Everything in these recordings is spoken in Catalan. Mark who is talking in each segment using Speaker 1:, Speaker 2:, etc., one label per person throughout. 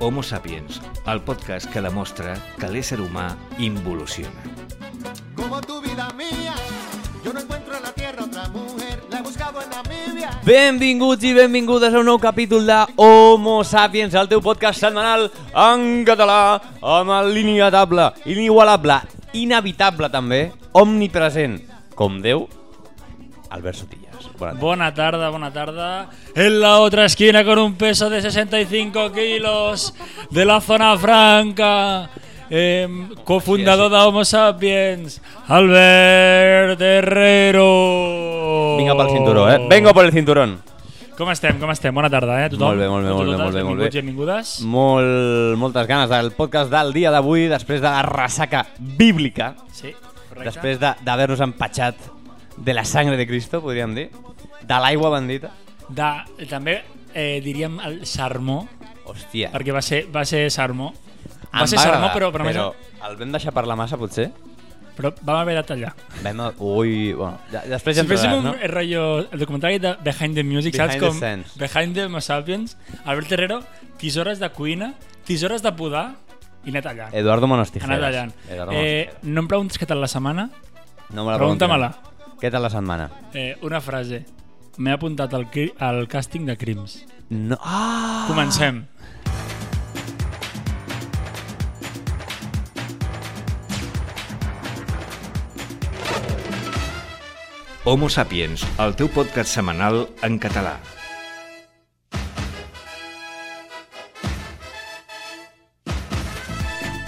Speaker 1: Homo Sapiens, el podcast que demostra que l'ésser humà involuciona.
Speaker 2: Como tu vida mía, yo no encuentro en la tierra otra mujer. La he buscado en Namibia.
Speaker 3: Benvinguts i benvingudes a un nou capítol de Homo Sapiens, el teu podcast setmanal en català, amb el l'inimitable, inigualable, inevitable també, omnipresent, com Déu, Albert Sotillas. Bona tarda.
Speaker 4: Buena tarde, buena tarde. En la otra esquina con un peso de 65 kilos de la zona franca. em, cofundador de Homo Sapiens, Albert Herrero.
Speaker 3: Vinga pel cinturó, eh? Vengo por el cinturón.
Speaker 4: Com estem, com estem? Bona tarda, eh, a tothom.
Speaker 3: Molt bé, molt bé,
Speaker 4: A
Speaker 3: molt bé,
Speaker 4: totes,
Speaker 3: molt bé, molt bé. Mm.
Speaker 4: benvinguts i benvingudes.
Speaker 3: Molt, moltes ganes del podcast del dia d'avui, després de la ressaca bíblica,
Speaker 4: Sí, correcte.
Speaker 3: després de- d'haver-nos empatxat de la sangre de Cristo, podríem dir, de l'aigua bendita.
Speaker 4: De, també eh, diríem el sermó,
Speaker 3: Hòstia.
Speaker 4: perquè va ser, va ser sermó.
Speaker 3: Em
Speaker 4: Va ser sermó,
Speaker 3: agradar,
Speaker 4: però, però, més-
Speaker 3: però el vam deixar parlar massa, potser?
Speaker 4: però vam haver de tallar.
Speaker 3: Vam... a- Ui, bueno, ja, després ja
Speaker 4: Si
Speaker 3: ens
Speaker 4: féssim
Speaker 3: veuràs,
Speaker 4: un
Speaker 3: no?
Speaker 4: eh, rotllo, el documentari de Behind the Music,
Speaker 3: Behind
Speaker 4: saps
Speaker 3: the
Speaker 4: com?
Speaker 3: Scenes.
Speaker 4: Behind the Homo Sapiens, Albert Herrero, tisores de cuina, tisores de podar i anar tallant.
Speaker 3: Eduardo Monastijeras.
Speaker 4: anar tallant.
Speaker 3: Eduardo
Speaker 4: Eh,
Speaker 3: Monastijeras.
Speaker 4: no em preguntis què tal la setmana,
Speaker 3: no me la
Speaker 4: pregunta-me-la.
Speaker 3: preguntin. Què tal la setmana?
Speaker 4: eh, una frase. M'he apuntat al, cri- al càsting de crims.
Speaker 3: No. Ah!
Speaker 4: Comencem.
Speaker 1: Homo Sapiens, el teu podcast setmanal en català.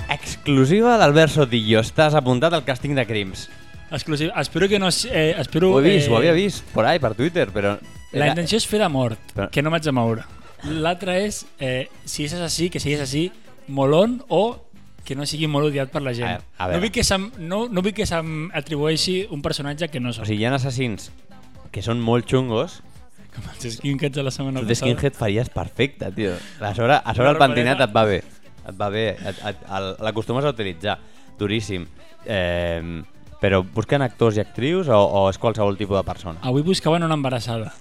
Speaker 3: Exclusiva d'Albert Sotillo. Estàs apuntat al càsting de crims.
Speaker 4: Exclusiu. Espero que no... s- Eh, espero,
Speaker 3: Ho he vist,
Speaker 4: eh,
Speaker 3: ho havia vist. Por ahí, per Twitter, però...
Speaker 4: La intenció és fer de mort,
Speaker 3: Però-
Speaker 4: que no m'haig de moure. L'altra és, eh, si és així, que siguis així, molon o que no sigui molt odiat per la gent.
Speaker 3: A- a veure.
Speaker 4: no, vull que se'm, no, no vull que se'm atribueixi un personatge que no
Speaker 3: O
Speaker 4: soc.
Speaker 3: sigui, hi ha assassins que són molt xungos.
Speaker 4: Com els skinheads de la setmana
Speaker 3: Tu de
Speaker 4: passada.
Speaker 3: skinhead faries perfecte, tio. A sobre, a sobre
Speaker 4: Una
Speaker 3: el pentinat
Speaker 4: barbareta.
Speaker 3: et va bé. Et va bé, et- et- el- l'acostumes a utilitzar. Duríssim. Eh, però busquen actors i actrius o, o és qualsevol tipus de persona?
Speaker 4: Avui buscaven una embarassada.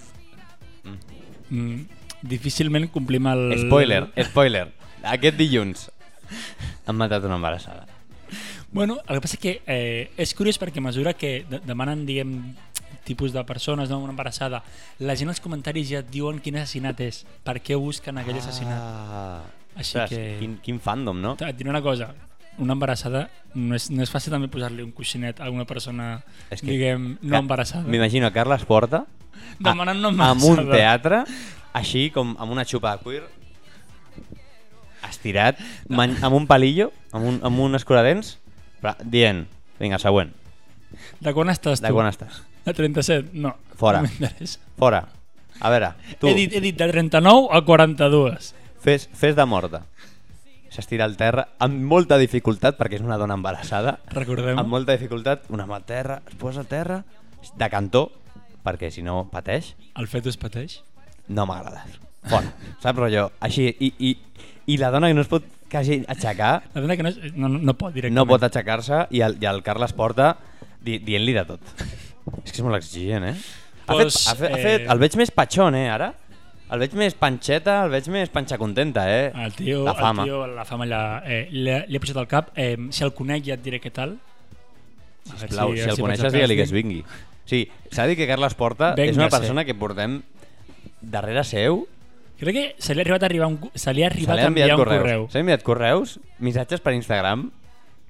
Speaker 4: Mm. Difícilment complim el...
Speaker 3: Spoiler, spoiler. Aquest dilluns han matat una embarassada.
Speaker 4: Bueno, el que passa és que eh, és curiós perquè a mesura que de demanen, diguem, tipus de persones, no, una embarassada, la gent als comentaris ja et diuen quin assassinat és, per què busquen aquell assassinat.
Speaker 3: Ah,
Speaker 4: Així
Speaker 3: ostres,
Speaker 4: que-
Speaker 3: quin, quin fandom, no?
Speaker 4: Et diré una cosa, una embarassada no és, no és fàcil també posar-li un coixinet a una persona,
Speaker 3: És que-
Speaker 4: diguem, no embarassada.
Speaker 3: M'imagino Carles Porta
Speaker 4: Demanant una
Speaker 3: amb
Speaker 4: embarassada.
Speaker 3: un teatre, així com amb una xupa de cuir, estirat, man, amb un palillo, amb un, amb un escuradents, però dient, vinga, següent,
Speaker 4: De quan estàs tu?
Speaker 3: de quan estàs?
Speaker 4: De 37? No.
Speaker 3: Fora.
Speaker 4: No m'interessa.
Speaker 3: Fora. A veure, tu,
Speaker 4: He, dit, he dit de 39 a 42.
Speaker 3: fes, fes de morta. S'estira al terra amb molta dificultat, perquè és una dona embarassada,
Speaker 4: Recordem.
Speaker 3: amb molta dificultat, una mà a terra, es posa a terra, de cantó, perquè si no pateix,
Speaker 4: El fetus pateix?
Speaker 3: no m'agrada. Fora, saps, rotllo? Així, i, i, i la dona que no es pot quasi aixecar,
Speaker 4: La veritat que no, és, no, no, no pot directament.
Speaker 3: no pot aixecar-se i el, i el Carles Porta di, dient-li de tot. És que és molt exigent, eh? Ha fet,
Speaker 4: Pues,
Speaker 3: ha fet, ha
Speaker 4: eh,
Speaker 3: fet, el veig més patxón, eh, ara? El veig més panxeta, el veig més panxa contenta, eh?
Speaker 4: El tio,
Speaker 3: la fama.
Speaker 4: El tio, la fama ja, eh, li, ha- li ha pujat al cap. Eh, si el conec ja et diré què tal. A veure
Speaker 3: Sisplau, si, si
Speaker 4: a veure
Speaker 3: el
Speaker 4: faig
Speaker 3: coneixes, digue-li que es
Speaker 4: càsting.
Speaker 3: vingui. Sí, s'ha de dir que Carles Porta és una
Speaker 4: Venga-se.
Speaker 3: persona que portem darrere seu
Speaker 4: Crec que se li ha arribat a arribar un, cu- se li ha
Speaker 3: Se
Speaker 4: arribat
Speaker 3: li
Speaker 4: a
Speaker 3: ha enviat
Speaker 4: enviar un
Speaker 3: correus.
Speaker 4: correu.
Speaker 3: Se li ha enviat correus, missatges per Instagram.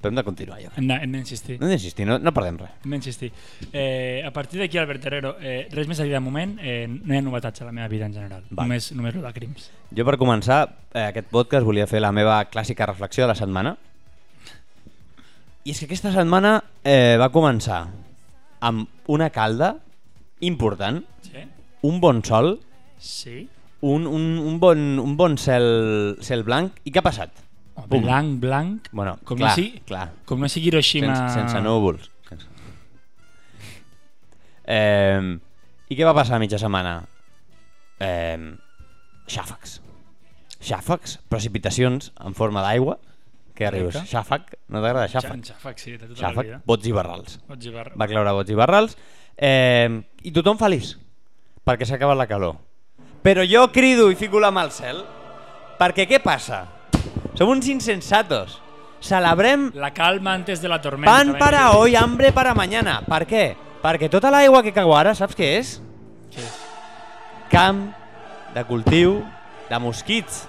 Speaker 3: Però hem de continuar, jo crec.
Speaker 4: Hem de- hem d'insistir.
Speaker 3: No hem d'insistir, no, no perdem res.
Speaker 4: Hem d'insistir. Eh, a partir d'aquí, Albert Herrero, eh, res més a dir de moment, eh, no hi ha novetats a la meva vida en general.
Speaker 3: Val.
Speaker 4: Només, només el de crims.
Speaker 3: Jo per començar eh, aquest podcast volia fer la meva clàssica reflexió de la setmana. I és que aquesta setmana eh, va començar amb una calda important,
Speaker 4: Sí?
Speaker 3: un bon sol,
Speaker 4: Sí?
Speaker 3: un, un, un bon, un bon cel, cel blanc. I què ha passat?
Speaker 4: Home,
Speaker 3: Pum.
Speaker 4: blanc, blanc,
Speaker 3: Bueno,
Speaker 4: com,
Speaker 3: clar,
Speaker 4: no sigui,
Speaker 3: clar.
Speaker 4: com no sigui Hiroshima...
Speaker 3: Sense, sense núvols. Eh, I què va passar a mitja setmana? Eh, xàfecs. Xàfecs, precipitacions en forma d'aigua. Què rius?
Speaker 4: Correcte.
Speaker 3: Xàfec? No t'agrada xàfec?
Speaker 4: Xàfec, sí, de tota
Speaker 3: Xàfec,
Speaker 4: la vida.
Speaker 3: bots i barrals.
Speaker 4: Pots llevar...
Speaker 3: Va cloure bots i barrals. Eh, I tothom feliç, perquè s'ha acabat la calor. Però jo crido i fico la mà al cel, perquè què passa? Som uns insensatos. Celebrem
Speaker 4: La calma antes de la tormenta.
Speaker 3: pan
Speaker 4: venga.
Speaker 3: para hoy, hambre para mañana. Per què? Perquè tota l'aigua que cau ara, saps què és?
Speaker 4: Què és?
Speaker 3: Camp de cultiu de mosquits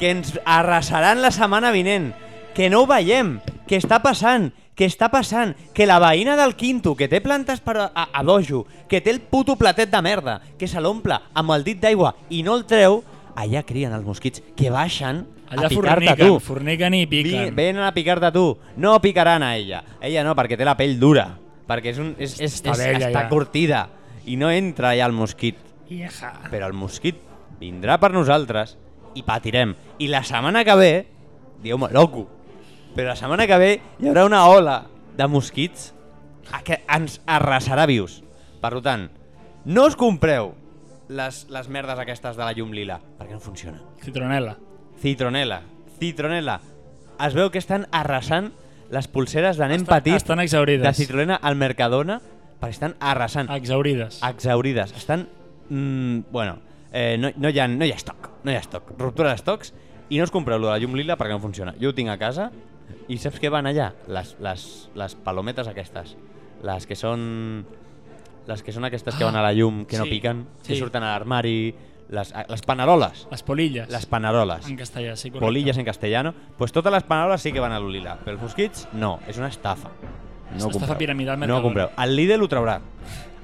Speaker 3: que ens arrasaran la setmana vinent, que no ho veiem, que està passant, que està passant, que la veïna del quinto, que té plantes per a, a dojo, que té el puto platet de merda, que se l'omple amb el dit d'aigua i no el treu, allà crien els mosquits, que baixen
Speaker 4: Allà
Speaker 3: a picar-te
Speaker 4: forniquen,
Speaker 3: tu.
Speaker 4: forniquen i
Speaker 3: Vi-
Speaker 4: piquen.
Speaker 3: Venen a picar-te tu. No picaran a ella. Ella no, perquè té la pell dura. Perquè és un, és, és,
Speaker 4: Està
Speaker 3: és,
Speaker 4: vella,
Speaker 3: està
Speaker 4: ja.
Speaker 3: curtida. I no entra allà el mosquit.
Speaker 4: Hija.
Speaker 3: Però el mosquit vindrà per nosaltres i patirem. I la setmana que ve, dieu-me loco, però la setmana que ve hi haurà una ola de mosquits a que ens arrasarà vius. Per tant, no us compreu les, les merdes aquestes de la llum lila, perquè no funciona.
Speaker 4: Citronela.
Speaker 3: Citronela, Citronela. Es veu que estan arrasant les pulseres de nen
Speaker 4: Estan-
Speaker 3: petit
Speaker 4: estan exaurides.
Speaker 3: de Citroena al Mercadona, perquè estan arrasant,
Speaker 4: Exaurides.
Speaker 3: exaurides. Estan, mm, bueno, eh, no, no, hi ha, no hi ha estoc, no hi ha estoc. Ruptura d'estocs i no us compreu lo de la llum lila perquè no funciona. Jo ho tinc a casa i saps què van allà? Les, les, les palometes aquestes, les que són les que són aquestes que van a la llum, que no
Speaker 4: Ah, sí,
Speaker 3: piquen, que
Speaker 4: sí.
Speaker 3: surten a l'armari, les, les paneroles,
Speaker 4: Les polilles.
Speaker 3: les paneroles.
Speaker 4: En castellà, sí, correcte.
Speaker 3: Polillas en castellano, pues totes les paraules sí que van a l'Ulila, però els mosquits no, és una estafa. No
Speaker 4: És una
Speaker 3: ho compreu.
Speaker 4: estafa piramidal
Speaker 3: No ho
Speaker 4: Mercadona.
Speaker 3: compreu. El Lidl ho traurà.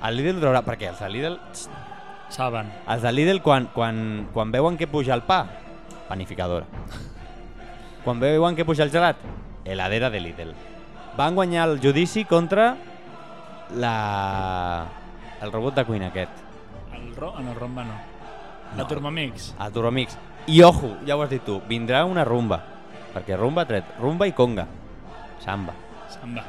Speaker 3: El Lidl ho traurà, perquè els de Lidl,
Speaker 4: Saben.
Speaker 3: els de Lidl quan, quan, quan veuen que puja el pa, panificadora. Quan veuen que puja el gelat, heladera de Lidl. Van guanyar el judici contra la... el robot de cuina aquest.
Speaker 4: El ro... En el romba no.
Speaker 3: No.
Speaker 4: La Turmamix.
Speaker 3: El Turomix. I ojo, ja ho has dit tu, vindrà una rumba. Perquè rumba ha tret, rumba i conga. Samba.
Speaker 4: Se'n va.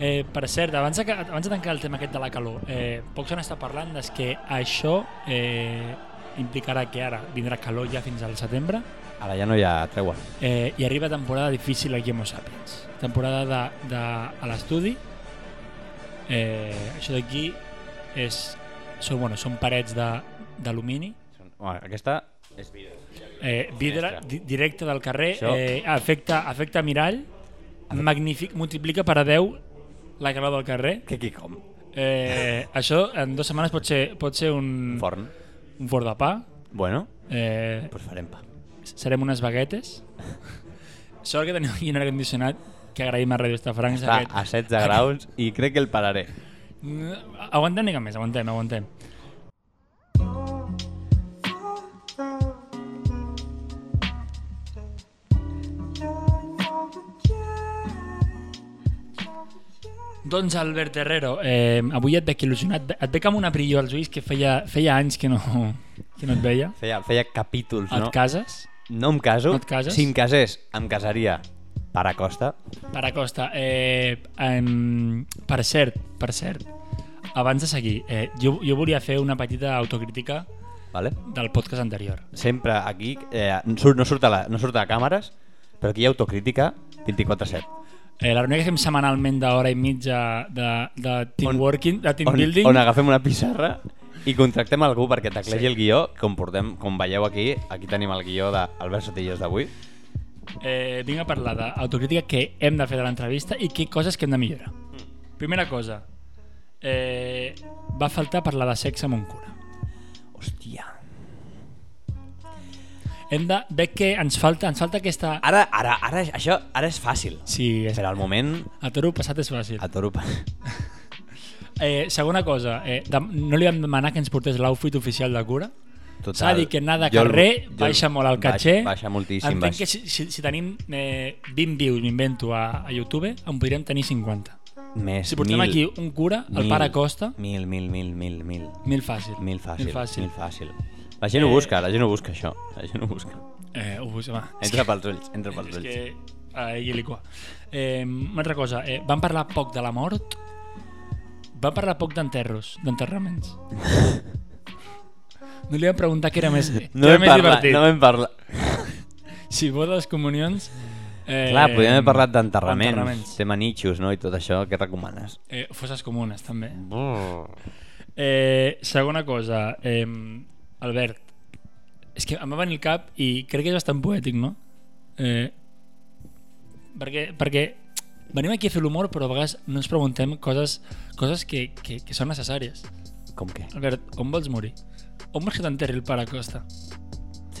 Speaker 4: Eh, per cert, abans de, que- abans de tancar el tema aquest de la calor, eh, Poxon està parlant des que això eh, implicarà que ara vindrà calor ja fins al setembre
Speaker 3: Ara ja no hi ha tregua.
Speaker 4: eh, i arriba temporada difícil aquí a Homo Sapiens. Temporada de, de, a l'estudi. Eh, això d'aquí és... Són, bueno, són parets de- d'alumini,
Speaker 3: Bueno, aquesta és vida.
Speaker 4: eh, vidre di- directe del carrer,
Speaker 3: Això.
Speaker 4: eh, afecta, afecta mirall, magnífic, multiplica per a 10 la calor del carrer.
Speaker 3: Que qui com?
Speaker 4: Eh, això en dues setmanes pot ser, pot ser un,
Speaker 3: Un forn.
Speaker 4: un forn de pa.
Speaker 3: Mm. Bueno,
Speaker 4: Eh,
Speaker 3: doncs farem pa.
Speaker 4: serem unes baguetes. Sort que teniu aquí un aire condicionat que agraïm a Ràdio Estafrancs.
Speaker 3: Està a 16 graus i crec que el pararé.
Speaker 4: Mm, Aguantem una mica més, aguantem, aguantem. Doncs Albert Herrero, eh, avui et veig il·lusionat, et veig amb una brillo als ulls que feia, feia anys que no, que no et veia.
Speaker 3: Feia, feia capítols,
Speaker 4: Et
Speaker 3: no?
Speaker 4: cases?
Speaker 3: No em caso.
Speaker 4: No et cases?
Speaker 3: Si em casés, em casaria per a costa.
Speaker 4: Per Acosta, eh, em, per cert, per cert, abans de seguir, eh, jo, jo volia fer una petita autocrítica
Speaker 3: Vale?
Speaker 4: del podcast anterior.
Speaker 3: Sempre aquí, eh, surt, no, surt a la, no surt a càmeres, però aquí hi ha autocrítica 24-7.
Speaker 4: Eh, la reunió que fem setmanalment d'hora i mitja de, de team
Speaker 3: On-
Speaker 4: working, de team
Speaker 3: on,
Speaker 4: building,
Speaker 3: on agafem una pissarra i contractem algú perquè teclegi
Speaker 4: Sí.
Speaker 3: sí. el guió, com, portem, com veieu aquí, aquí tenim el guió d'Albert Sotillos d'avui.
Speaker 4: eh, vinc a parlar d'autocrítica que hem de fer de l'entrevista i que coses que hem de millorar. Primera cosa, eh, va faltar parlar de sexe amb un cura.
Speaker 3: Hòstia.
Speaker 4: Hem de... Veig que ens falta, ens falta aquesta...
Speaker 3: Ara, ara, ara, això ara és fàcil.
Speaker 4: Sí, és...
Speaker 3: Però al moment,
Speaker 4: A toro passat és fàcil.
Speaker 3: a toro... pa-
Speaker 4: Eh, segona cosa, eh, dem- no li vam demanar que ens portés l'outfit oficial de cura.
Speaker 3: Total.
Speaker 4: S'ha de dir que anar de
Speaker 3: Jo el-
Speaker 4: carrer
Speaker 3: jo el-
Speaker 4: baixa molt al
Speaker 3: baix-
Speaker 4: caché.
Speaker 3: Baixa moltíssim.
Speaker 4: Entenc
Speaker 3: Baix.
Speaker 4: que si, si, si tenim eh, 20 views, m'invento, a, a YouTube, en podríem tenir 50.
Speaker 3: Més,
Speaker 4: Si portem
Speaker 3: mil,
Speaker 4: aquí un cura, el
Speaker 3: mil,
Speaker 4: pare Costa,
Speaker 3: Mil, mil, mil, mil, mil.
Speaker 4: mil fàcil.
Speaker 3: Mil fàcil,
Speaker 4: Mil fàcil.
Speaker 3: Mil fàcil. La gent ho
Speaker 4: Eh,
Speaker 3: busca, la gent ho busca, això. La gent ho busca.
Speaker 4: Eh, ho vull, home, és
Speaker 3: Entra pels ulls, entra pels
Speaker 4: que...
Speaker 3: ulls.
Speaker 4: És que ahí li cua. Eh, una altra cosa, eh, vam parlar poc de la mort, vam parlar poc d'enterros, d'enterraments. No li vam preguntar què era més, què
Speaker 3: No
Speaker 4: era
Speaker 3: vam
Speaker 4: més
Speaker 3: parlar,
Speaker 4: divertit.
Speaker 3: no vam parlar.
Speaker 4: Si bodes, comunions... Eh,
Speaker 3: Clar, podríem haver parlat d'enterraments,
Speaker 4: enterraments.
Speaker 3: tema nichos, no? I tot això, què recomanes?
Speaker 4: Eh, fosses comunes, també. Eh, segona cosa, eh, Albert, és que em va venir el cap i crec que és bastant poètic, no? Eh, perquè, perquè venim aquí a fer l'humor, però a vegades no ens preguntem coses, coses que, que, que són necessàries.
Speaker 3: Com què?
Speaker 4: Albert, on vols morir? On vols que t'enterri el pare Costa?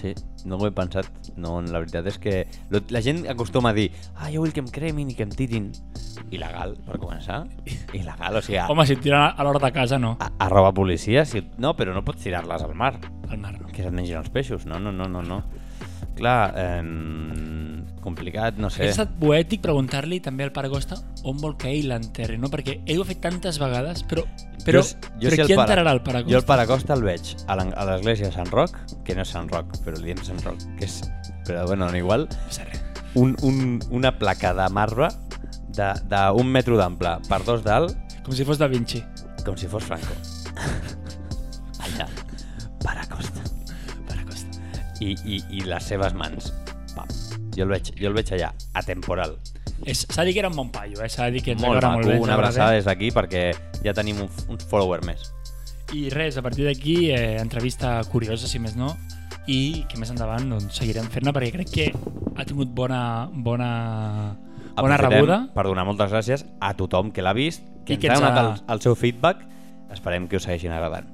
Speaker 3: Sí, no ho he pensat. No, la veritat és que lo- la gent acostuma a dir ah, jo vull que em cremin i que em tirin. Il·legal, per començar. Il·legal, o sigui, a,
Speaker 4: Home, si et tiren a- a l'hora de casa, no.
Speaker 3: a, arroba policia, si... no, però no pots tirar-les al mar,
Speaker 4: Al mar, no.
Speaker 3: que se't mengin els peixos. No, no, no, no, no. Clar, eh, complicat, no sé.
Speaker 4: Hauria estat poètic preguntar-li també al pare Costa on vol que ell l'enterri, no? Perquè ell ho ha fet tantes vegades, però, però,
Speaker 3: s- sé
Speaker 4: però qui enterrarà el pare
Speaker 3: Jo el
Speaker 4: Costa?
Speaker 3: Paracosta el veig a l'en- a l'església de Sant Roc, que no és Sant Roc, però li diem Sant Roc, que és... Però bueno, no igual.
Speaker 4: Jo...
Speaker 3: Un, un, una placa de marbre d'un de, de un metro d'ample per dos d'alt,
Speaker 4: Com si fos Da Vinci.
Speaker 3: com si fos Franco. Allà. Paracosta.
Speaker 4: Pare Costa.
Speaker 3: I, i, i les seves mans. Pam. Jo el veig, jo el veig allà, atemporal.
Speaker 4: És- S'ha dit que era un bon paio, eh? S'ha dit que ens
Speaker 3: Molt
Speaker 4: agrada
Speaker 3: maco,
Speaker 4: molt bé. eh? ens
Speaker 3: una
Speaker 4: agrada
Speaker 3: abraçada
Speaker 4: bé.
Speaker 3: des d'aquí perquè ja tenim un, f- un follower més.
Speaker 4: I res, a partir d'aquí, eh, entrevista curiosa, si més no, i que més endavant doncs, seguirem fent-ne perquè crec que ha tingut bona, bona, bona
Speaker 3: Aprofitem
Speaker 4: rebuda.
Speaker 3: Per donar moltes gràcies a tothom que l'ha vist, que
Speaker 4: I que
Speaker 3: ens ha
Speaker 4: ens ha-
Speaker 3: donat el, el seu feedback. Esperem que us segueixin agradant.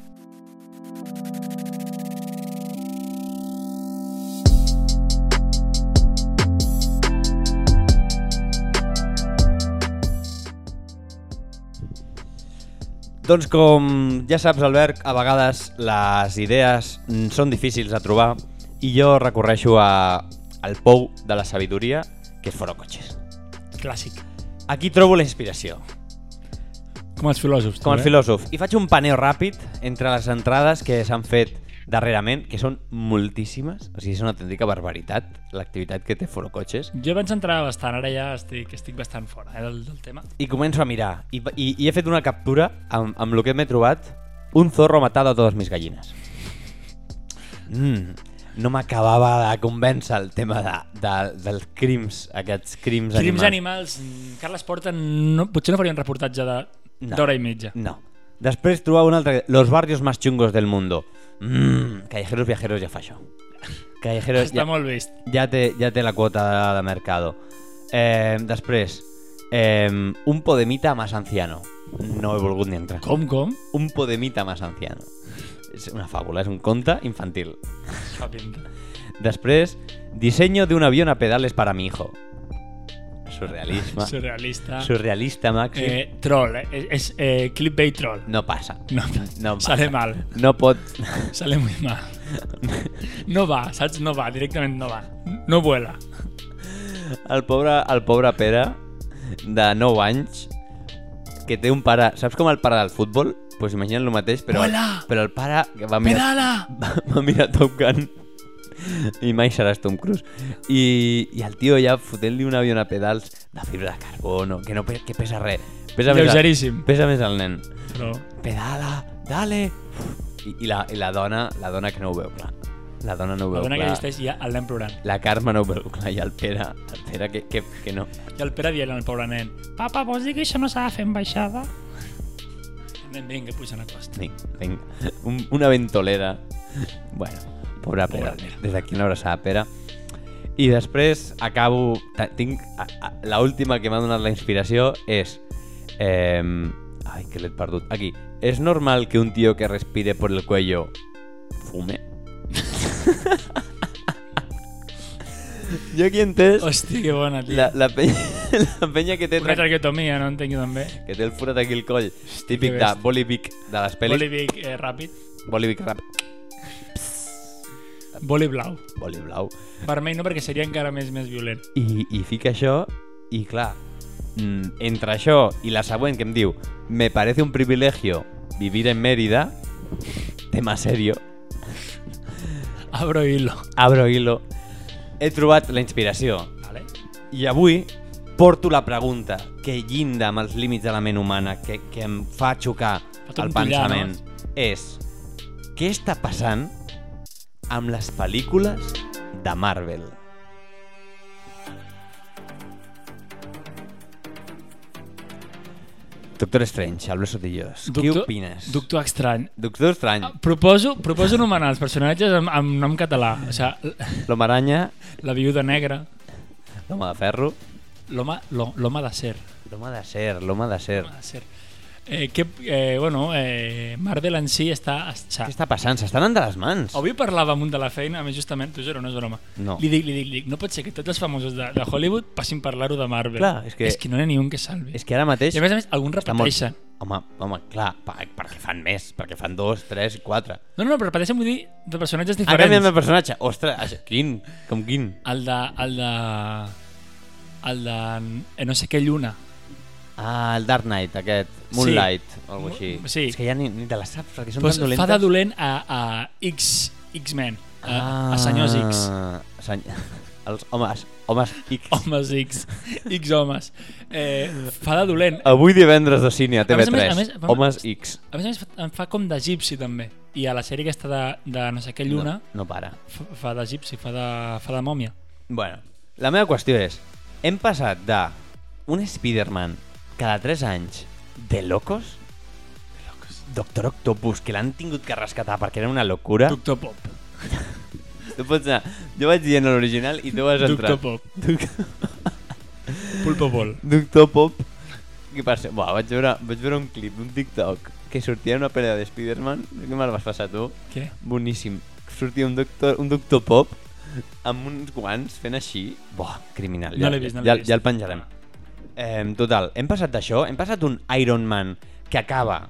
Speaker 3: Doncs com ja saps, Albert, a vegades les idees mm, són difícils de trobar i jo recorreixo a, al pou de la sabidoria, que és Foro Cotxes.
Speaker 4: Clàssic.
Speaker 3: Aquí trobo la inspiració,
Speaker 4: Com els filòsofs.
Speaker 3: com el
Speaker 4: també.
Speaker 3: filòsof. I faig un paneo ràpid entre les entrades que s'han fet darrerament, que són moltíssimes, o sigui, és una autèntica barbaritat l'activitat que té Foro Cotxes.
Speaker 4: Jo vaig entrar bastant, ara ja estic, estic bastant fora eh, del, del tema.
Speaker 3: I començo a mirar, i, i, i he fet una captura amb, amb el que m'he trobat, un zorro matado a totes mis gallines. Mm, no m'acabava de convèncer el tema de, de, dels crims, aquests crims,
Speaker 4: Crims
Speaker 3: animals.
Speaker 4: animals. mm, Carles Porta no, potser no faria un reportatge de
Speaker 3: No. Mm,
Speaker 4: d'hora i mitja.
Speaker 3: No. Després trobava un altre... Los barrios más chungos del mundo. Mm, callejeros viajeros ja fa això. Callejeros ja,
Speaker 4: Està molt vist.
Speaker 3: ja, té, ja té la quota de, de mercado. Eh, després, eh, un podemita más anciano. No he volgut ni entrar.
Speaker 4: Com, com?
Speaker 3: Un podemita más anciano. És una fàbula, és un conte infantil.
Speaker 4: Fa pinta.
Speaker 3: Després, diseño de un avión a pedales para mi hijo. Surrealisme.
Speaker 4: Surrealista.
Speaker 3: Surrealista, Maxi.
Speaker 4: Eh, troll, eh? És- És eh, clickbait troll.
Speaker 3: No passa.
Speaker 4: No,
Speaker 3: No passa.
Speaker 4: sale mal.
Speaker 3: No pot...
Speaker 4: Sale muy mal. No va, saps? No va, directament no va. No vuela.
Speaker 3: El pobre, el pobre Pere, de 9 anys, que té un pare... Saps com el pare del futbol? Doncs pues imagina't el mateix, però,
Speaker 4: Hola!
Speaker 3: però el pare que va mirar,
Speaker 4: Pedala!
Speaker 3: va, va mirar Top Gun i mai seràs Tom Cruise. I, i el tio ja fotent-li un avió a pedals de fibra de carbono, que no pe- que pesa res. Pesa més, el,
Speaker 4: Lleugeríssim.
Speaker 3: pesa més el nen.
Speaker 4: Però...
Speaker 3: Pedala, dale! I, i, la, i la dona, la dona que no ho veu clar. La dona no ho
Speaker 4: La
Speaker 3: veu
Speaker 4: dona que
Speaker 3: clar.
Speaker 4: existeix ja el nen plorant.
Speaker 3: La Carme no ho veu clar i el Pere, el Pere que, que, que no.
Speaker 4: I el Pere dient al pobre nen Papa, vols dir que això no s'ha de fer en baixada? Nen, vinga, pujant a costa.
Speaker 3: Vinga, vinga. Un, una ventolera. Bueno, pobre Pere.
Speaker 4: Pobre Pere.
Speaker 3: Des d'aquí una abraçada, Pere. I després acabo... ta- Tinc... a- a- la última que m'ha donat la inspiració és... Eh, ai, que l'he perdut. Aquí. ¿Es normal que un tío que respire por el cuello fume? jo aquí he entès
Speaker 4: Hòstia, que bona, tio.
Speaker 3: la, la, penya, la penya que té,
Speaker 4: Una
Speaker 3: tra-
Speaker 4: traqueotomia, no entenc jo també.
Speaker 3: que té el forat aquí al coll, típic de
Speaker 4: bèstia.
Speaker 3: Bolivic de les pel·lis.
Speaker 4: Voli big, eh, ràpid.
Speaker 3: Bolivic rap.
Speaker 4: Voli blau.
Speaker 3: boli blau.
Speaker 4: Vermell no, perquè seria encara més més violent.
Speaker 3: I, i fica això i clar, mm, entre això i la següent que em diu me parece un privilegio vivir en Mérida tema serio
Speaker 4: Abro hilo.
Speaker 3: abro hilo he trobat la inspiració
Speaker 4: Vale?
Speaker 3: i avui porto la pregunta que llinda amb els límits de la ment humana que, que em fa xocar
Speaker 4: Fa
Speaker 3: el
Speaker 4: trontollar,
Speaker 3: pensament és què està passant amb les pel·lícules de Marvel? Doctor Strange, Albert Sotillos, què opines?
Speaker 4: Doctor Ah. Estrany.
Speaker 3: Doctor Strange,
Speaker 4: Proposo, proposo nomenar els personatges amb, amb nom català. O sigui, l-
Speaker 3: l'Home Aranya,
Speaker 4: la viuda negra,
Speaker 3: L'home de ferro,
Speaker 4: L'home lo- l'home de ser.
Speaker 3: l'home de ser, l'home de ser.
Speaker 4: l'home de ser. Eh, que, eh, bueno, eh, Marvel en si està... està
Speaker 3: Què està passant? S'estan anant de les mans.
Speaker 4: Avui parlava amb un de la feina, a més justament, t'ho juro, no és broma.
Speaker 3: No.
Speaker 4: Li dic, li dic, li dic, no pot ser que tots els famosos de, de Hollywood passin parlar-ho de Marvel.
Speaker 3: Clar, és que-
Speaker 4: és que no n'hi ha ni un que salvi.
Speaker 3: És que ara mateix...
Speaker 4: I a més a més, alguns
Speaker 3: està molt-
Speaker 4: repeteixen.
Speaker 3: Home, home, clar, pa- perquè fan més, perquè fan dos, tres, quatre.
Speaker 4: No, no, però repeteixen, vull dir, de personatges
Speaker 3: Ha
Speaker 4: diferents.
Speaker 3: canviat el personatge. Ostres, això, quin? Com quin?
Speaker 4: El de... El de... El de... eh, no sé què lluna.
Speaker 3: Ah, el Dark Knight, aquest. Moonlight, sí. o alguna cosa així.
Speaker 4: Sí.
Speaker 3: És que ja ni, ni te la saps, perquè són
Speaker 4: Pues
Speaker 3: tan
Speaker 4: fa
Speaker 3: dolentes.
Speaker 4: de dolent a, a X, X-Men. A, a senyors X.
Speaker 3: Ah, Seny... Els homes, homes X.
Speaker 4: Homes X. X homes. Eh, fa de dolent.
Speaker 3: Avui divendres de cine a TV3.
Speaker 4: més, a més, a més, vam-
Speaker 3: homes X.
Speaker 4: A més a més, fa- em fa com d'egipci, també. I a la sèrie aquesta de, de no sé què lluna...
Speaker 3: No, no para.
Speaker 4: Fa, fa d'egipci, fa de, fa de mòmia.
Speaker 3: Bueno, la meva qüestió és, hem passat de un Spider-Man cada 3 anys de locos, Doctor Octopus, que l'han tingut que rescatar perquè era una locura.
Speaker 4: Doctor Pop.
Speaker 3: Tu pots anar... Jo vaig dient l'original i tu vas entrar.
Speaker 4: Doctor Pop. Pulpo Ball.
Speaker 3: Doctor Pop. Què passa? Buah, vaig veure, vaig veure un clip d'un TikTok que sortia una pel·li de Spider-Man. Què me'l vas passar tu?
Speaker 4: Què?
Speaker 3: Boníssim. Sortia un doctor, un doctor pop amb uns guants fent així. Buah, criminal.
Speaker 4: No
Speaker 3: Ja,
Speaker 4: l'he vist, no l'he
Speaker 3: ja,
Speaker 4: vist.
Speaker 3: ja el penjarem. Eh, total, hem passat d'això, hem passat un Iron Man que acaba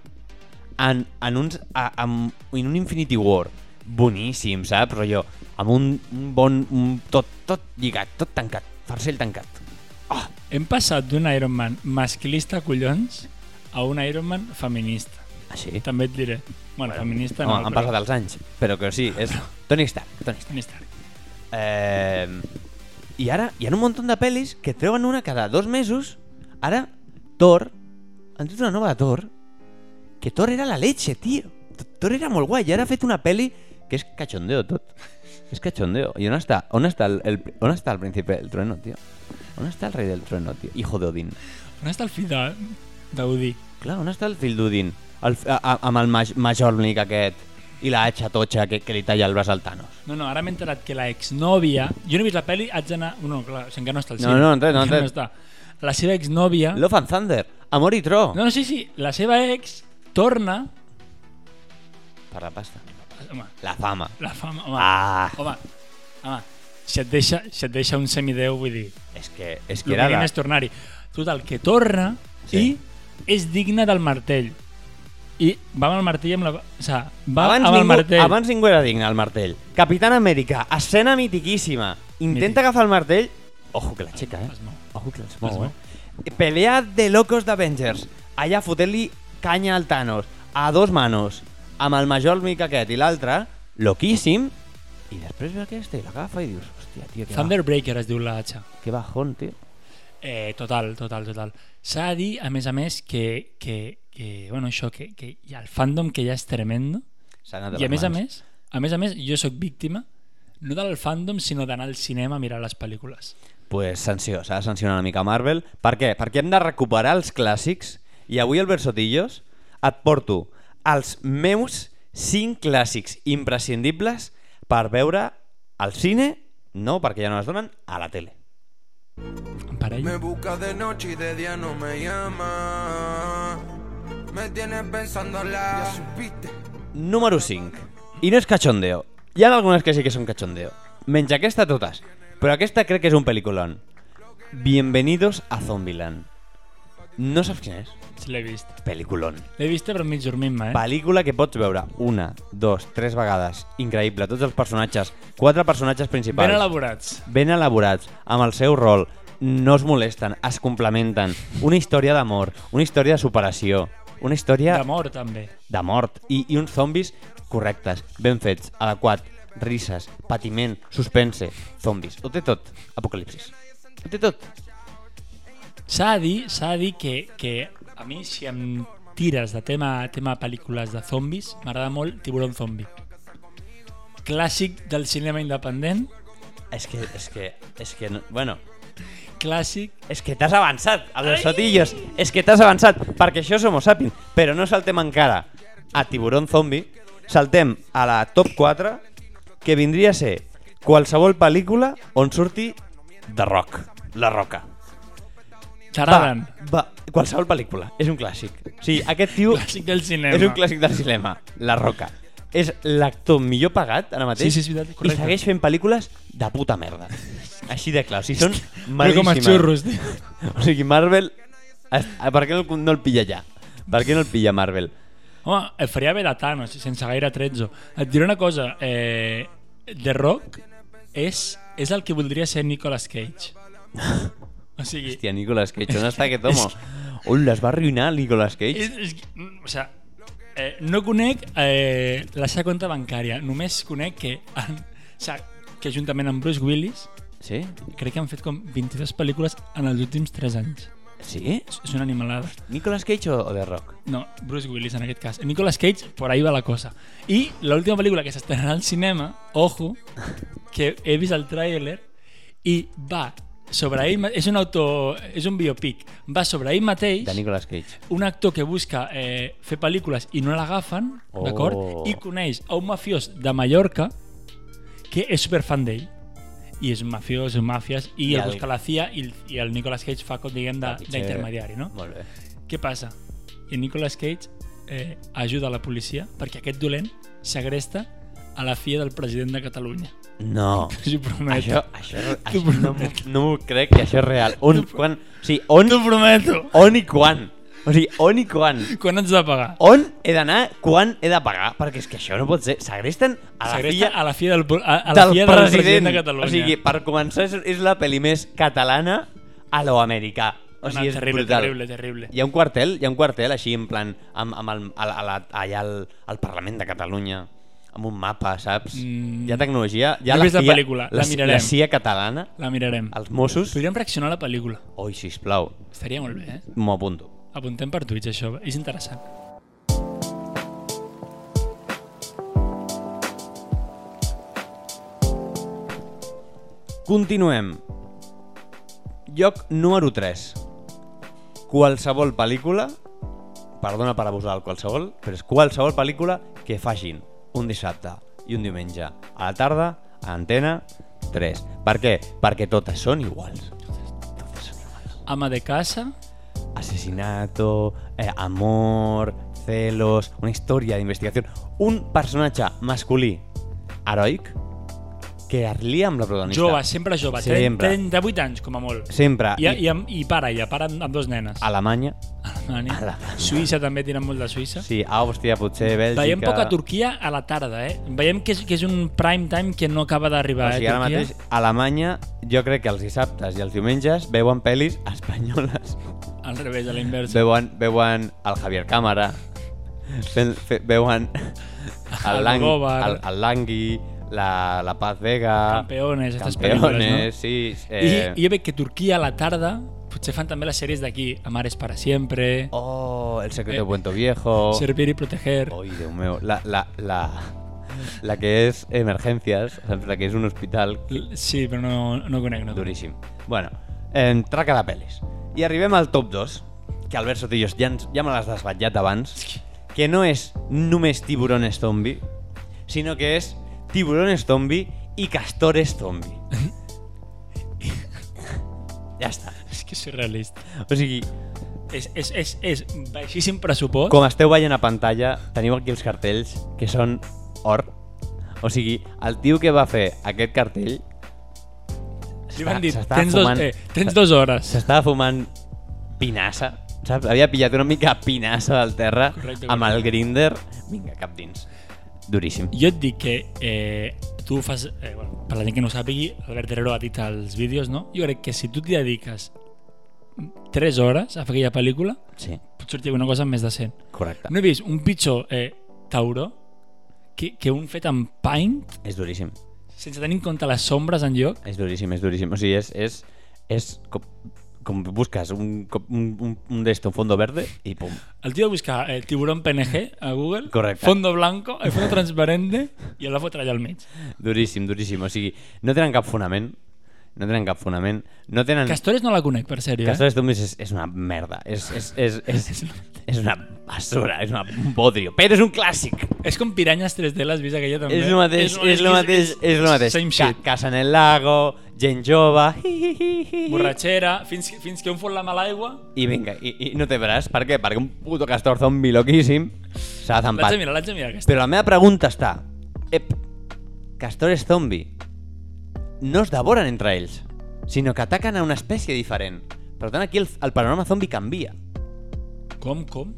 Speaker 3: en, en, uns, a, amb, en un Infinity War boníssim, saps? Rollo, amb un, un bon... Un, tot, tot lligat, tot tancat, farcell tancat.
Speaker 4: Hem passat d'un Iron Man masclista, collons, a un Iron Man feminista.
Speaker 3: Així.
Speaker 4: També et diré. Bueno, feminista no,
Speaker 3: Home, han passat els anys, però que sí, és Tony Stark. Tony Stark.
Speaker 4: Feminista.
Speaker 3: Eh, I ara hi ha un munt de pel·lis que treuen una cada dos mesos. Ara, Thor, han tret una nova de Thor, que Thor era la leche, tio. Thor era molt guai, i ara ha fet una pel·li que és cachondeo tot. És cachondeo. I on està, on està, el, el, on està el príncipe del trueno, tio? On està el rei del trueno, tio? Hijo de Odín.
Speaker 4: On està el fill de- d'Audi?
Speaker 3: Clar, on està el fill d'Odin? El, a, a, amb el maj, Majornic aquest i la hacha totxa que, que li talla el braç al Thanos.
Speaker 4: No, no, ara m'he enterat que la exnòvia... Jo no he vist la pel·li, haig d'anar... No, clar, o sigui, encara no està al
Speaker 3: No,
Speaker 4: cine.
Speaker 3: no, entra, no, entra.
Speaker 4: Encara no està. La seva exnòvia...
Speaker 3: Love and Thunder, Amor i Tro.
Speaker 4: No, no, sí, sí, la seva ex torna...
Speaker 3: Per la pasta.
Speaker 4: Home,
Speaker 3: La fama.
Speaker 4: la fama... Home,
Speaker 3: Ah,
Speaker 4: Home, home, si et deixa, si et deixa un semideu, vull dir,
Speaker 3: és que, és
Speaker 4: el
Speaker 3: que era
Speaker 4: que
Speaker 3: la...
Speaker 4: és tornar-hi. Total, que torna sí.
Speaker 3: Sí.
Speaker 4: i és digne del martell. I va amb el martell amb la... O sigui, va
Speaker 3: Abans
Speaker 4: amb
Speaker 3: ningú,
Speaker 4: el martell.
Speaker 3: abans ningú era digne, el martell. Capitán Amèrica, escena mitiquíssima. Intenta
Speaker 4: Mític.
Speaker 3: agafar el martell... Ojo que la aixeca, eh?
Speaker 4: Es mou.
Speaker 3: Ojo que es
Speaker 4: Es
Speaker 3: mou,
Speaker 4: mou.
Speaker 3: eh? Pelea de locos d'Avengers. Allà fotent-li canya al Thanos. A dos manos. Amb el major mica aquest i l'altre. Loquíssim. I després ve aquesta i l'agafa i dius... Hòstia, tio, que, Thunder...
Speaker 4: Thunderbreaker es diu la hacha.
Speaker 3: ba... que bajón, tio.
Speaker 4: Eh, total, total, total. S'ha de dir, a més a més, que, que, que bueno, això, que, que hi ha el fandom que ja és tremendo.
Speaker 3: S'ha anat Ah, de
Speaker 4: I a
Speaker 3: les
Speaker 4: més a
Speaker 3: mans.
Speaker 4: més, a més a més, jo sóc víctima no del fandom, sinó d'anar al cinema a mirar les pel·lícules.
Speaker 3: pues sanció, s'ha de sancionar una mica Marvel. Per què? Perquè hem de recuperar els clàssics i avui al Versotillos et porto els meus 5 clàssics imprescindibles per veure al cine, no, perquè ja no es donen, a la tele.
Speaker 4: En parella.
Speaker 5: Me busca de noche y de día no me llama. Me tienes pensándola. Ya supiste.
Speaker 3: Número 5. I no és cachondeo. Hi ha algunes que sí que són cachondeo. Menys aquesta totes. Però aquesta crec que és un pel·liculón. Bienvenidos a Zombieland. No saps quin és?
Speaker 4: Sí, l'he vist.
Speaker 3: Peliculón.
Speaker 4: L'he vist però mig dormint-me, eh?
Speaker 3: Pel·lícula que pots veure una, dos, tres vegades. Increïble, tots els personatges. Quatre personatges principals.
Speaker 4: Ben elaborats.
Speaker 3: ben elaborats, amb el seu rol. No es molesten, es complementen. Una història d'amor, una història de superació, una història
Speaker 4: D'amor, també.
Speaker 3: de mort i, i uns zombis correctes, ben fets, adequat, risses, patiment, suspense, zombis. Ho té tot, apocalipsis. Ho té tot.
Speaker 4: S'ha de dir, s'ha de dir que, que a mi, si em tires de tema tema pel·lícules de zombis, m'agrada molt Tiburón Zombi. Clàssic del cinema independent,
Speaker 3: És que, és que, és que, no, bueno,
Speaker 4: clàssic...
Speaker 3: És que t'has avançat, a los sotillos. És que t'has avançat, perquè això és Homo sapiens. Però no saltem encara a Tiburón Zombi, saltem a la top 4, que vindria a ser qualsevol pel·lícula on surti The Rock. La Roca.
Speaker 4: T'agraden.
Speaker 3: va, qualsevol pel·lícula. És un clàssic. O sigui, aquest tio
Speaker 4: Clàssic del cinema.
Speaker 3: és un clàssic del cinema. La Roca. És l'actor millor pagat ara mateix
Speaker 4: Sí, sí, és veritat,
Speaker 3: i
Speaker 4: correcte.
Speaker 3: segueix fent pel·lícules de puta merda. Així de clar. O sigui, són
Speaker 4: Però com a
Speaker 3: malíssimes.
Speaker 4: xurros, tio.
Speaker 3: O sigui, Marvel... es- Per què no, no el pilla ja? Per què no el pilla Marvel?
Speaker 4: Home, et faria bé de Thanos, sense gaire tretzo. Et diré una cosa, eh, The Rock és, és el que voldria ser Nicolas Cage. O sigui,
Speaker 3: Hòstia, Nicolas Cage, on està aquest home? Hola, es va arruïnar Nicolas Cage.
Speaker 4: és, és, mm, o sigui eh, no conec eh, la seva compta bancària, només conec que, en, o sigui, que juntament amb Bruce Willis
Speaker 3: Sí?
Speaker 4: crec que han fet com 22 pel·lícules en els últims 3 anys.
Speaker 3: Sí?
Speaker 4: És- És una animalada.
Speaker 3: Nicolas Cage o, o The Rock?
Speaker 4: No, Bruce Willis en aquest cas. Nicolas Cage, por ahí va la cosa. I l'última pel·lícula que s'estrenarà al cinema, ojo, que he vist el tràiler i va sobre ell, ma- és un auto, és un biopic, va sobre ell mateix,
Speaker 3: De Nicolas Cage.
Speaker 4: un actor que busca eh, fer pel·lícules i no l'agafen,
Speaker 3: Oh.
Speaker 4: d'acord? I coneix a un mafiós de Mallorca que és superfan d'ell. I és un mafiós, un màfies, i,
Speaker 3: I
Speaker 4: el
Speaker 3: el-
Speaker 4: busca la CIA i, el- i el Nicolas Cage fa, com diguem, de- d'intermediari, no?
Speaker 3: Molt bé.
Speaker 4: Què passa? I Nicolas Cage eh, ajuda la policia perquè aquest dolent segresta a la filla del president de Catalunya.
Speaker 3: No.
Speaker 4: T'ho prometo.
Speaker 3: Això, això,
Speaker 4: T'ho
Speaker 3: això no,
Speaker 4: prometo.
Speaker 3: m'ho- no m'ho crec que això és real. On, quan, o sigui, on,
Speaker 4: T'ho prometo.
Speaker 3: on i quan? O sigui, on i quan?
Speaker 4: Quan ets de pagar?
Speaker 3: On he d'anar? Quan he de pagar? Perquè és que això no pot ser. Segresten a la
Speaker 4: Segresta
Speaker 3: filla
Speaker 4: a la filla del, po- a, a la filla del president de Catalunya.
Speaker 3: O sigui, per començar, és, és la pel·li més catalana a lo americà. O
Speaker 4: No,
Speaker 3: sigui, és
Speaker 4: terrible,
Speaker 3: brutal.
Speaker 4: terrible, terrible.
Speaker 3: Hi ha un quartel, hi ha un quartel així en plan amb, amb el, a, la- a, la- allà al, al Parlament de Catalunya amb un mapa, saps?
Speaker 4: Mm.
Speaker 3: Hi ha tecnologia, hi ha
Speaker 4: No he
Speaker 3: la
Speaker 4: vist la
Speaker 3: CIA,
Speaker 4: pel·lícula, la
Speaker 3: C-
Speaker 4: mirarem.
Speaker 3: La CIA catalana,
Speaker 4: La mirarem.
Speaker 3: els Mossos...
Speaker 4: Podríem reaccionar a la pel·lícula.
Speaker 3: Oi, sisplau,
Speaker 4: Estaria molt bé, eh?
Speaker 3: m'ho apunto.
Speaker 4: Apuntem per Twitch, això. És interessant.
Speaker 3: Continuem. Lloc número 3. Qualsevol pel·lícula, perdona per abusar del qualsevol, però és qualsevol pel·lícula que facin un dissabte i un diumenge a la tarda, a Antena 3. Per què? Perquè totes són iguals.
Speaker 4: Ama de casa,
Speaker 3: Asesinato, eh, amor, celos, una història d'investigació. Un personatge masculí heroic que es lia amb la protagonista.
Speaker 4: jove, sempre jove,
Speaker 3: Sempre. Ah,
Speaker 4: 38 anys, com a molt.
Speaker 3: Sempre.
Speaker 4: I, i, amb- i pare, ja, pare amb, amb dos nenes.
Speaker 3: Alemanya.
Speaker 4: Alemanya.
Speaker 3: Alemanya.
Speaker 4: Suïssa també tiren molt de Suïssa.
Speaker 3: Sí, Àustria, potser Bèlgica...
Speaker 4: Veiem poca Turquia a la tarda, eh? Veiem que és, que és un prime time que no acaba
Speaker 3: O
Speaker 4: d'arribar,
Speaker 3: sigui,
Speaker 4: eh,
Speaker 3: ara
Speaker 4: Turquia?
Speaker 3: mateix, Alemanya, jo crec que els dissabtes i els diumenges veuen pel·lis espanyoles.
Speaker 4: Al revés, a la inversa.
Speaker 3: Veuen, veuen el Javier Cámara, fent, fe, veuen el, Lang,
Speaker 4: Almodóvar.
Speaker 3: el, el Langui, la, la Paz Vega...
Speaker 4: Campeones, estas
Speaker 3: Ah, Campeones,
Speaker 4: películas,
Speaker 3: sí. Eh,
Speaker 4: I, I jo veig que Turquia a la tarda potser fan també les sèries d'aquí, Amares para siempre,
Speaker 3: Oh, El secreto de
Speaker 4: Eh,
Speaker 3: Puento Viejo...
Speaker 4: Servir y proteger...
Speaker 3: Ay, Dios mío. La, la, la, la que es emergencias, o sea, la que es un hospital
Speaker 4: L- Sí, però no, no conec, no. conec.
Speaker 3: Duríssim. Bueno, eh, traca de pel·lis. I arribem al top 2, que Albert Sotillos ja, ens, ja me l'has desvetllat abans, que no és només tiburones zombi, sinó que és tiburones zombi i castores zombi. ja està.
Speaker 4: És que soy realista.
Speaker 3: O sigui,
Speaker 4: És, és, és, és baixíssim pressupost.
Speaker 3: com esteu veient a pantalla, teniu aquí els cartells, que són or. O sigui, el tio que va fer aquest cartell
Speaker 4: Li van dir,
Speaker 3: s'està
Speaker 4: tens dos,
Speaker 3: fumant-
Speaker 4: eh, tens dos hores.
Speaker 3: s'estava fumant pinassa, saps? Havia pillat una mica pinassa del terra
Speaker 4: Correcte,
Speaker 3: amb el grinder. Vinga, cap dins. Duríssim.
Speaker 4: Jo et dic que eh, tu fas... Eh, bueno, per la gent que no ho sàpigui, Albert Herrero ha dit als vídeos, no? Jo crec que si tu t'hi dediques 3 hores a fer aquella pel·lícula,
Speaker 3: Sí,
Speaker 4: pot sortir alguna cosa més decent.
Speaker 3: correcte.
Speaker 4: No he vist un pitjor eh, tauró que, que un fet amb paint
Speaker 3: És duríssim.
Speaker 4: sense tenir en compte les sombres en lloc.
Speaker 3: És duríssim, és duríssim. O sigui, és... és, és com, com busques un, com un, un, un d'esto, un fondo verde i pum.
Speaker 4: El tio va buscar eh, tiburón PNG a Google,
Speaker 3: Correcte.
Speaker 4: fondo blanco, eh, fondo transparente, i el va fotre allà al mig.
Speaker 3: Mm. Duríssim, duríssim. O sigui, no tenen cap fonament. No tenen cap fonament. No tenen...
Speaker 4: Castores no la conec, per sèrio, eh?
Speaker 3: Castores Zombies és, és una merda. És, és, és, és, és una basura, és una, un bodrio. Però és un clàssic.
Speaker 4: És com Piranyes 3D, l'has vist aquella també?
Speaker 3: És el mateix, és el mateix, és el mateix.
Speaker 4: Same
Speaker 3: Ca-
Speaker 4: shit.
Speaker 3: Casa en el lago, gent jove, hi, hi, hi, hi, hi.
Speaker 4: Borratxera, fins, fins que un fot la mala aigua.
Speaker 3: I vinga, i, i no té braç. Per què? Perquè un puto castor zombi loquíssim s'ha
Speaker 4: L'haig
Speaker 3: zampat.
Speaker 4: de mirar, l'haig de mirar aquesta.
Speaker 3: Però la meva pregunta està... Ep, castores zombi no es devoren entre ells, sinó que ataquen a una espècie diferent. Per tant, aquí el, el panorama zombi canvia.
Speaker 4: Com, com?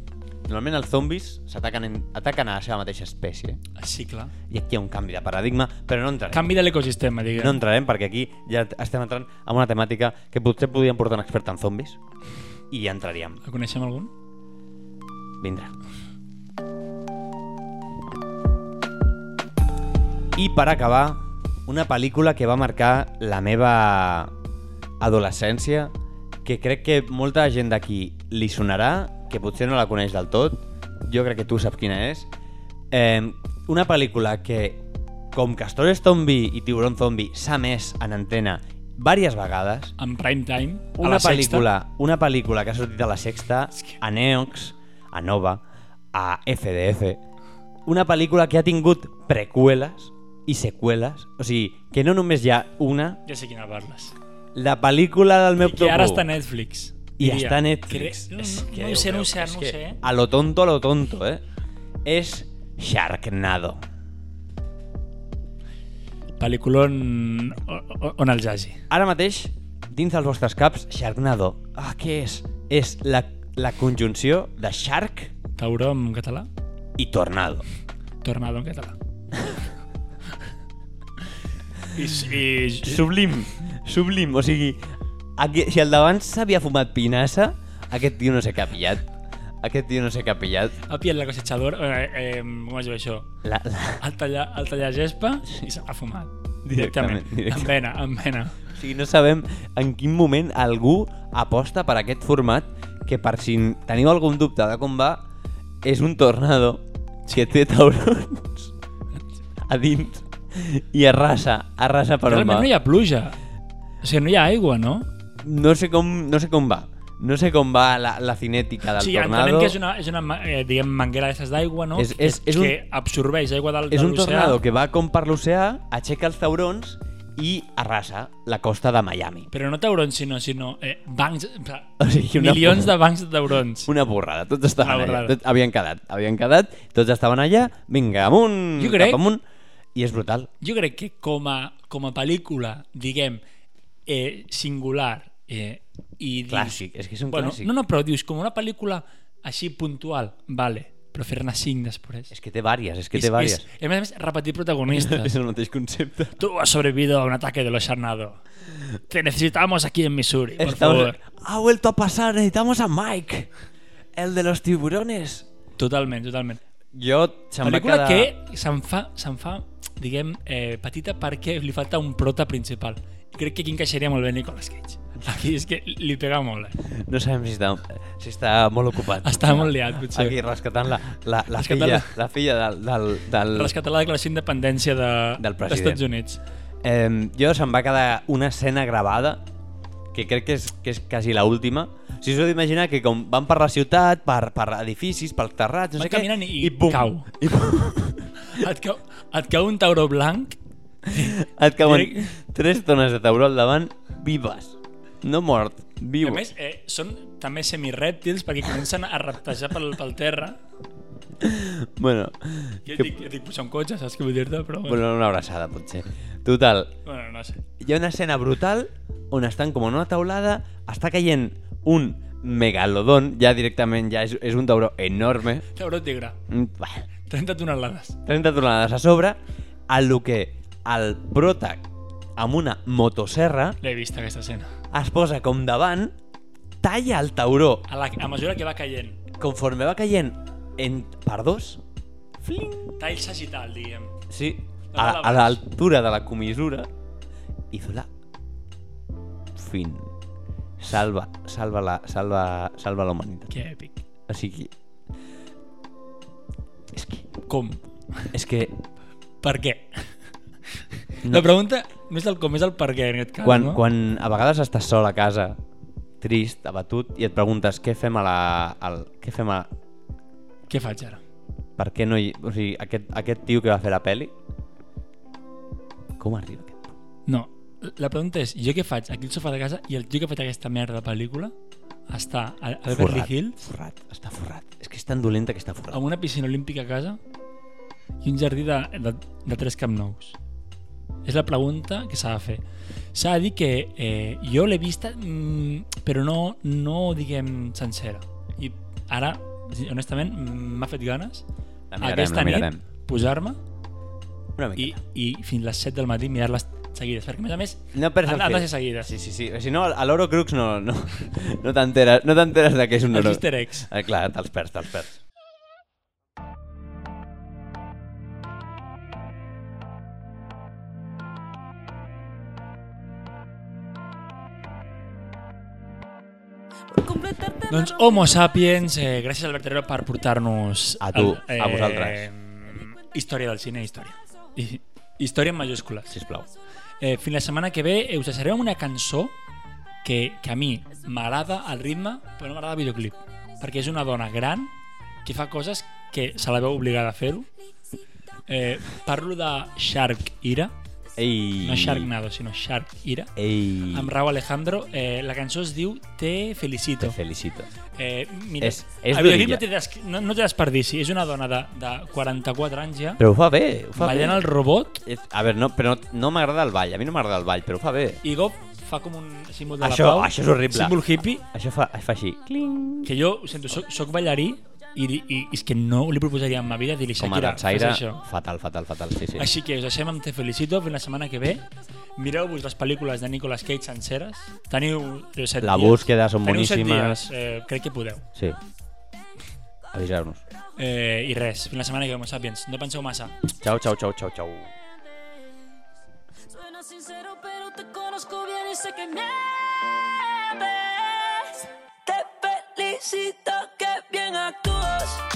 Speaker 3: Normalment els zombis s'ataquen en- ataquen a la seva mateixa espècie.
Speaker 4: Ah, Sí, clar.
Speaker 3: I aquí hi ha un canvi de paradigma, però no entrarem.
Speaker 4: Canvi de l'ecosistema, diguem.
Speaker 3: No entrarem perquè aquí ja estem entrant en una temàtica que potser podríem portar un expert en zombis i ja entraríem.
Speaker 4: El coneixem algun?
Speaker 3: Vindrà. I per acabar, una pel·lícula que va marcar la meva adolescència, que crec que molta gent d'aquí li sonarà, que potser no la coneix del tot, jo crec que tu saps quina és. Eh, una pel·lícula que, com Castores Zombi i Tiburón Zombi, s'ha més en antena diverses vegades,
Speaker 4: En prime time, a
Speaker 3: una
Speaker 4: la
Speaker 3: pel·lícula, una pel·lícula que ha sortit a la Sexta, a Neox, a Nova, a FDF, una pel·lícula que ha tingut preqüeles i seqüeles, o sigui, que no només hi ha una,
Speaker 4: sexta. Ja sé quina parles.
Speaker 3: la pel·lícula del meu
Speaker 4: I que ara
Speaker 3: top u.
Speaker 4: està a Netflix.
Speaker 3: I
Speaker 4: diria.
Speaker 3: està a Netflix.
Speaker 4: Cre- No,
Speaker 3: És
Speaker 4: no,
Speaker 3: que
Speaker 4: no, ho
Speaker 3: Déu
Speaker 4: sé, no
Speaker 3: meu,
Speaker 4: ho sé, eh?"
Speaker 3: és
Speaker 4: no ho
Speaker 3: que
Speaker 4: sé.
Speaker 3: A lo tonto, a lo tonto, eh? És Sharknado.
Speaker 4: Pel·liculon o- o- on el jagi.
Speaker 3: Ara mateix, dins dels vostres caps, Sharknado. Ah, què és? És la, la conjunció de Shark
Speaker 4: Tauró en català,
Speaker 3: i Tornado.
Speaker 4: Tornado en català. I, i,
Speaker 3: Sublim, sublim, o sigui, aquí, si el d'abans s'havia fumat pinassa, aquest tio no sé què ha pillat. Aquest tio no sé què ha pillat.
Speaker 4: ha pillat la cosechadora, eh, eh, com es diu això?
Speaker 3: La, la...
Speaker 4: El tallar, el tallar gespa i se l'ha fumat.
Speaker 3: Directament,
Speaker 4: Amb vena, amb vena.
Speaker 3: O sigui, no sabem en quin moment algú aposta per aquest format que per si teniu algun dubte de com va, és un tornado que té taurons a dins i arrasa, arrasa per on va.
Speaker 4: Realment no hi ha pluja. O sigui, no hi ha aigua, no?
Speaker 3: no, sé com, no sé com va. No sé com va la, la cinètica del
Speaker 4: sí,
Speaker 3: tornado.
Speaker 4: entenem que és una, és una ma- eh, diguem, manguera d'aquestes d'aigua, no?
Speaker 3: És- és- és
Speaker 4: que
Speaker 3: un-
Speaker 4: que absorbeix aigua del,
Speaker 3: És
Speaker 4: de
Speaker 3: un
Speaker 4: l'oceà.
Speaker 3: tornado que va com per l'oceà, aixeca els taurons i arrasa la costa de Miami.
Speaker 4: Però no taurons, sinó, sinó eh, bancs, en pla,
Speaker 3: O sigui, una-
Speaker 4: milions de bancs de taurons.
Speaker 3: Una borrada, tots estaven
Speaker 4: Una
Speaker 3: allà,
Speaker 4: borrada.
Speaker 3: tots havien quedat, havien quedat, tots estaven allà, vinga, amunt,
Speaker 4: Jo crec-
Speaker 3: cap amunt, i és brutal.
Speaker 4: Jo crec que com a, com a pel·lícula, diguem, eh, singular eh, i... Dius,
Speaker 3: Clàssic, és que és un
Speaker 4: bueno,
Speaker 3: clàssic.
Speaker 4: No, no, però dius, com una pel·lícula així puntual, vale, però fer-ne cinc després.
Speaker 3: És que té vàries, és que
Speaker 4: És-
Speaker 3: té
Speaker 4: és-
Speaker 3: vàries.
Speaker 4: I a més a més, repetir protagonistes.
Speaker 3: És el mateix concepte.
Speaker 4: Tú has sobrevivido a un ataque de los Sharnado. Te necesitamos aquí en Missouri, por favor.
Speaker 3: Ha vuelto a pasar, necesitamos a Mike, el de los tiburones.
Speaker 4: Totalment, totalment.
Speaker 3: Jo se'm va
Speaker 4: Pel·lícula
Speaker 3: quedar...
Speaker 4: que se'n fa, se'n fa, diguem, eh, petita perquè li falta un prota principal. I crec que aquí encaixaria molt bé Nicolas Cage. Aquí és que li pega molt. Eh?
Speaker 3: No sabem si està, si està molt ocupat.
Speaker 4: Està molt liat, potser.
Speaker 3: Aquí rescatant la, la, la
Speaker 4: Rescatant
Speaker 3: filla,
Speaker 4: la-
Speaker 3: la filla del, del, del,
Speaker 4: Rescatar la declaració d'independència de,
Speaker 3: Del
Speaker 4: dels
Speaker 3: president.
Speaker 4: Estats Units.
Speaker 3: Eh, jo se'm va quedar una escena gravada que crec que és, que és quasi la última. Si us heu d'imaginar que com van per la ciutat, per, per edificis, pels terrats, no
Speaker 4: Van
Speaker 3: sé què,
Speaker 4: caminant i
Speaker 3: i pum,
Speaker 4: cau.
Speaker 3: I pum,
Speaker 4: Et cau, et cau un tauró blanc
Speaker 3: et cauen
Speaker 4: Direc-
Speaker 3: tres tones de tauró al davant, vives. No mort,
Speaker 4: I
Speaker 3: viu.
Speaker 4: a més, eh, són també semirèptils perquè comencen a reptejar pel, pel terra.
Speaker 3: Bueno,
Speaker 4: Jo et
Speaker 3: que-
Speaker 4: dic, jo et dic posar un cotxe, saps què vull dir-te? Però bueno,
Speaker 3: bueno, una abraçada, potser. Total,
Speaker 4: bueno, no sé.
Speaker 3: hi ha una escena brutal on estan com en una taulada, està caient un megalodon, ja directament ja és, és un tauró enorme.
Speaker 4: Tauró tigre,
Speaker 3: Mm, Bah,
Speaker 4: 30 tonelades.
Speaker 3: 30 tonelades a sobre, a lo que el prota amb una motoserra
Speaker 4: L'he vist, aquesta escena.
Speaker 3: es posa com davant, talla el tauró
Speaker 4: A, la, a mesura que va caient.
Speaker 3: conforme va caient en, per dos, fling,
Speaker 4: Tall sagital, diguem.
Speaker 3: sí, a, a l'altura de la comissura, i Zola, fin, salva, salva la, salva, salva la humanitat.
Speaker 4: Que èpic.
Speaker 3: O sigui, és que,
Speaker 4: Com?
Speaker 3: és que
Speaker 4: Per què?
Speaker 3: No.
Speaker 4: No. La pregunta no és el com, és el per què en aquest cas,
Speaker 3: quan,
Speaker 4: no?
Speaker 3: quan a vegades estàs sol a casa, trist, abatut, i et preguntes què fem a la... Al, què fem a,
Speaker 4: Què faig ara?
Speaker 3: Per què no hi... O sigui, aquest, aquest tio que va fer la pel·li... Com arriba aquest?
Speaker 4: No, la pregunta és, jo què faig aquí al sofà de casa i el tio que ha fet aquesta merda de pel·lícula està a, a Beverly Hills
Speaker 3: Forrat, està forrat. És que és tan dolenta que està forrat.
Speaker 4: amb una piscina olímpica a casa i un jardí de, de, de tres Camp Nous. És la pregunta que s'ha de fer. S'ha de dir que eh, jo l'he vista, mm, però no, no diguem sencera. I ara, honestament, mm, m'ha fet ganes
Speaker 3: La mirarem,
Speaker 4: aquesta
Speaker 3: la mirarem.
Speaker 4: nit posar-me
Speaker 3: Una mica.
Speaker 4: i, i fins les 7 del matí mirar-les seguides, perquè a més a més
Speaker 3: No perds
Speaker 4: han,
Speaker 3: el
Speaker 4: han de
Speaker 3: fil.
Speaker 4: ser seguides.
Speaker 3: Sí, sí, sí. Si no, a l'Oro Crux no, no, no t'enteres no t'enteres de que és un
Speaker 4: Els
Speaker 3: oro.
Speaker 4: easter eggs.
Speaker 3: Eh, clar, te'ls perds, te'ls perds.
Speaker 4: Doncs Homo Sapiens, eh, gràcies Albert Herrero per portar-nos...
Speaker 3: A tu,
Speaker 4: al-
Speaker 3: a vosaltres.
Speaker 4: Història del cine, història. I, història en majúscules.
Speaker 3: Sisplau.
Speaker 4: Eh, fins la setmana que ve eh, us deixarem una cançó que, que a mi m'agrada el ritme, però no m'agrada el videoclip. Perquè és una dona gran que fa coses que se la veu obligada a fer-ho. Eh, parlo de Shark Ira,
Speaker 3: Ei.
Speaker 4: no Sharknado, sinó Shark Ira,
Speaker 3: Ei.
Speaker 4: amb Raúl Alejandro. Eh, la cançó es diu Te felicito.
Speaker 3: Te felicito.
Speaker 4: Eh, mira,
Speaker 3: És- és
Speaker 4: el videoclip
Speaker 3: durilla.
Speaker 4: no té des- no, no té desperdici. És una dona de, de 44 anys ja,
Speaker 3: Però ho fa bé, ho fa
Speaker 4: ballant
Speaker 3: bé.
Speaker 4: el robot
Speaker 3: És- A veure, no, però no, no m'agrada el ball, a mi no m'agrada el ball, però ho fa bé.
Speaker 4: i Gop fa com un símbol de
Speaker 3: Això-
Speaker 4: la pau.
Speaker 3: això és horrible.
Speaker 4: Símbol hippie.
Speaker 3: Això fa, fa així. Cling.
Speaker 4: Que jo, ho sento, soc, soc ballarí i, di- i, és que no li proposaria en ma vida dir-li
Speaker 3: Com a
Speaker 4: Shakira, fes
Speaker 3: dansaire,
Speaker 4: això.
Speaker 3: fatal, fatal, fatal. Sí, sí.
Speaker 4: Així que us deixem amb Te Felicito, fins la setmana que ve. Mireu-vos les pel·lícules de Nicolas Cage senceres. Teniu eh, set
Speaker 3: La
Speaker 4: dies.
Speaker 3: búsqueda són
Speaker 4: Teniu set
Speaker 3: boníssimes.
Speaker 4: dies, eh, crec que podeu.
Speaker 3: Sí. Avisar-nos.
Speaker 4: Eh, I res, fins la setmana que ve, Homo Sapiens. No penseu massa.
Speaker 3: Chao, chao, chao, chao, chao.
Speaker 6: Suena sincero, pero te conozco bien y sé que mientes. Te felicito que bien actúas.